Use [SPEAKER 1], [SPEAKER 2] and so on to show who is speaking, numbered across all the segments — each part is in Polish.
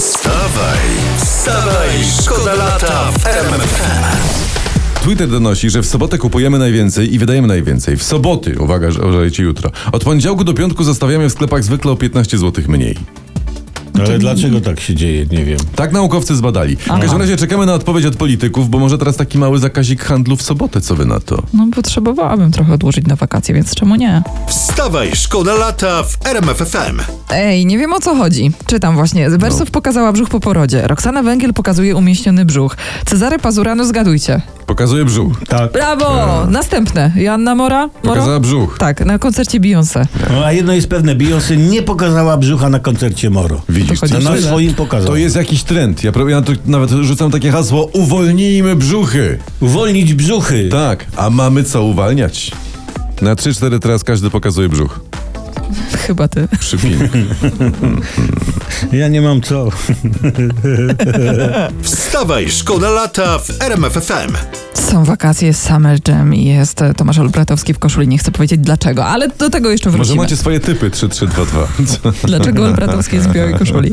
[SPEAKER 1] Wstawaj, wstawaj, szkoda lata w RMFFM.
[SPEAKER 2] Twitter donosi, że w sobotę kupujemy najwięcej i wydajemy najwięcej. W soboty, uwaga, że ożalecie jutro. Od poniedziałku do piątku zostawiamy w sklepach zwykle o 15 zł mniej.
[SPEAKER 3] Ale dlaczego tak się dzieje, nie wiem.
[SPEAKER 2] Tak naukowcy zbadali. W każdym razie czekamy na odpowiedź od polityków, bo może teraz taki mały zakazik handlu w sobotę, co wy na to?
[SPEAKER 4] No potrzebowałabym trochę odłożyć na wakacje, więc czemu nie?
[SPEAKER 1] Wstawaj, szkoda lata w RMFFM.
[SPEAKER 4] Ej, nie wiem o co chodzi. Czytam właśnie. Z Wersów pokazała brzuch po porodzie. Roxana Węgiel pokazuje umieśniony brzuch. Cezary Pazurano, zgadujcie.
[SPEAKER 2] Pokazuje brzuch.
[SPEAKER 3] Tak.
[SPEAKER 4] Brawo! Następne. Joanna Mora? Moro?
[SPEAKER 2] Pokazała brzuch.
[SPEAKER 4] Tak, na koncercie Beyoncé.
[SPEAKER 3] No, a jedno jest pewne, Beyoncé nie pokazała brzucha na koncercie Moro.
[SPEAKER 2] Widzisz,
[SPEAKER 4] To chodzi
[SPEAKER 3] No,
[SPEAKER 2] to,
[SPEAKER 3] na
[SPEAKER 4] tyle.
[SPEAKER 3] swoim pokazał.
[SPEAKER 2] to jest jakiś trend. Ja, pro- ja tu nawet rzucam takie hasło, uwolnijmy brzuchy.
[SPEAKER 3] Uwolnić brzuchy.
[SPEAKER 2] Tak, a mamy co uwalniać. Na 3-4 teraz każdy pokazuje brzuch.
[SPEAKER 4] Chyba ty.
[SPEAKER 2] Przypin.
[SPEAKER 3] Ja nie mam co.
[SPEAKER 1] Wstawaj, szkoda lata w RMFFM.
[SPEAKER 4] Są wakacje, jest Summer Jam i jest e, Tomasz Olbratowski w koszuli. Nie chcę powiedzieć dlaczego, ale do tego jeszcze
[SPEAKER 2] Może
[SPEAKER 4] wrócimy.
[SPEAKER 2] macie swoje typy 3-3-2-2.
[SPEAKER 4] Dlaczego Olbratowski jest w białej koszuli?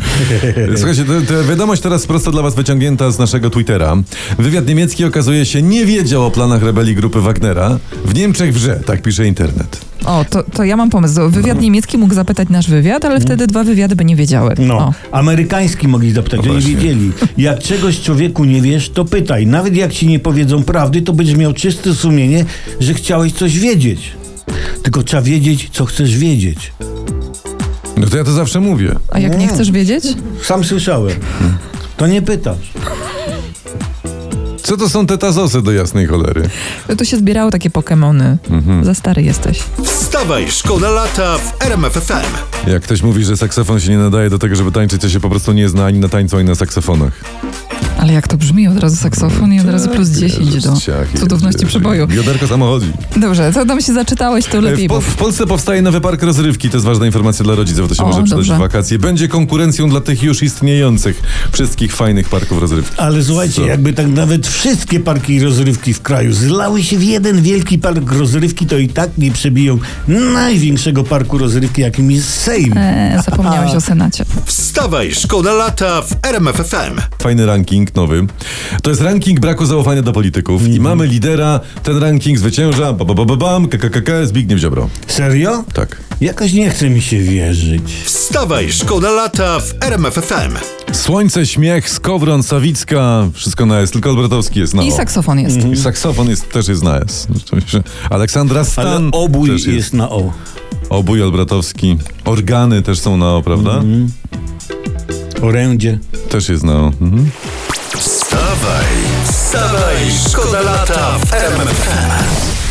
[SPEAKER 2] Słuchajcie, to, to wiadomość teraz prosto dla was wyciągnięta z naszego Twittera. Wywiad niemiecki okazuje się nie wiedział o planach rebelii grupy Wagnera. W Niemczech wrze, tak pisze internet.
[SPEAKER 4] O, to, to ja mam pomysł.
[SPEAKER 2] No.
[SPEAKER 4] Wywiad niemiecki mógł zapytać nasz wywiad, ale wtedy dwa wywiady by nie wiedziały.
[SPEAKER 3] No,
[SPEAKER 4] O.
[SPEAKER 3] amerykański mogli zapytać, oni
[SPEAKER 2] No właśnie.
[SPEAKER 3] wiedzieli. Jak czegoś człowieku nie wiesz, to pytaj. Nawet jak ci nie powiedzą prawdy, to będziesz miał czyste sumienie, że chciałeś coś wiedzieć. Tylko trzeba wiedzieć, co chcesz wiedzieć.
[SPEAKER 2] No to ja to zawsze mówię.
[SPEAKER 4] A jak nie
[SPEAKER 3] Nie.
[SPEAKER 4] chcesz wiedzieć?
[SPEAKER 3] Sam słyszałem. To nie pytasz.
[SPEAKER 2] Co to są te tazosy do jasnej cholery?
[SPEAKER 4] No to się zbierało takie Pokemony. Za stary jesteś.
[SPEAKER 1] Wstawaj, szkoda lata w RMFFM.
[SPEAKER 2] Jak ktoś mówi, że saksofon się nie nadaje do tego, żeby tańczyć, to się po prostu nie zna ani na tańcu, ani na saksofonach.
[SPEAKER 4] Ale jak to brzmi, od razu saksofon i od razu plus 10 do
[SPEAKER 2] ciach,
[SPEAKER 4] cudowności
[SPEAKER 2] Jezus.
[SPEAKER 4] przeboju.
[SPEAKER 2] Bioderko samochodzi.
[SPEAKER 4] Dobrze, co tam się zaczytałeś, to
[SPEAKER 2] E,
[SPEAKER 4] lepiej.
[SPEAKER 2] W,
[SPEAKER 4] Bo...
[SPEAKER 2] po, w Polsce powstaje nowy park rozrywki, to jest ważna informacja dla rodziców, to się
[SPEAKER 4] O,
[SPEAKER 2] może przydać
[SPEAKER 4] dobrze.
[SPEAKER 2] w wakacje. Będzie konkurencją dla tych już istniejących wszystkich fajnych parków rozrywki.
[SPEAKER 3] Ale słuchajcie,
[SPEAKER 2] Co?
[SPEAKER 3] jakby tak nawet wszystkie parki rozrywki w kraju zlały się w jeden wielki park rozrywki, to i tak nie przebiją największego parku rozrywki, jakim jest Sejm.
[SPEAKER 4] E, zapomniałeś o Senacie.
[SPEAKER 1] Wstawaj, szkoda lata w RMFFM.
[SPEAKER 2] Fajny ranking nowy. To jest ranking braku zaufania do polityków.
[SPEAKER 3] Mhm.
[SPEAKER 2] I mamy lidera, ten ranking zwycięża. Ba, ba, ba, ba, bam, kkk, Zbigniew Ziobro.
[SPEAKER 3] Serio?
[SPEAKER 2] Tak.
[SPEAKER 3] Jakoś nie chce mi się wierzyć.
[SPEAKER 1] Wstawaj, szkoda lata w RMFFM.
[SPEAKER 2] Słońce, śmiech, skowron, sawicka, wszystko na S, tylko Olbratowski jest na
[SPEAKER 4] I
[SPEAKER 2] o.
[SPEAKER 4] saksofon jest.
[SPEAKER 2] I saksofon jest, też jest na S. Rzeczywiście. Aleksandra
[SPEAKER 3] Ale
[SPEAKER 2] Stan
[SPEAKER 3] obój
[SPEAKER 2] też
[SPEAKER 3] jest. na O.
[SPEAKER 2] Obój Olbratowski. Organy też są na O, prawda?
[SPEAKER 3] Mhm. Orędzie.
[SPEAKER 2] Też jest na O. Mhm.
[SPEAKER 1] Wstawaj, wstawaj, szkoda lata w RMFFM.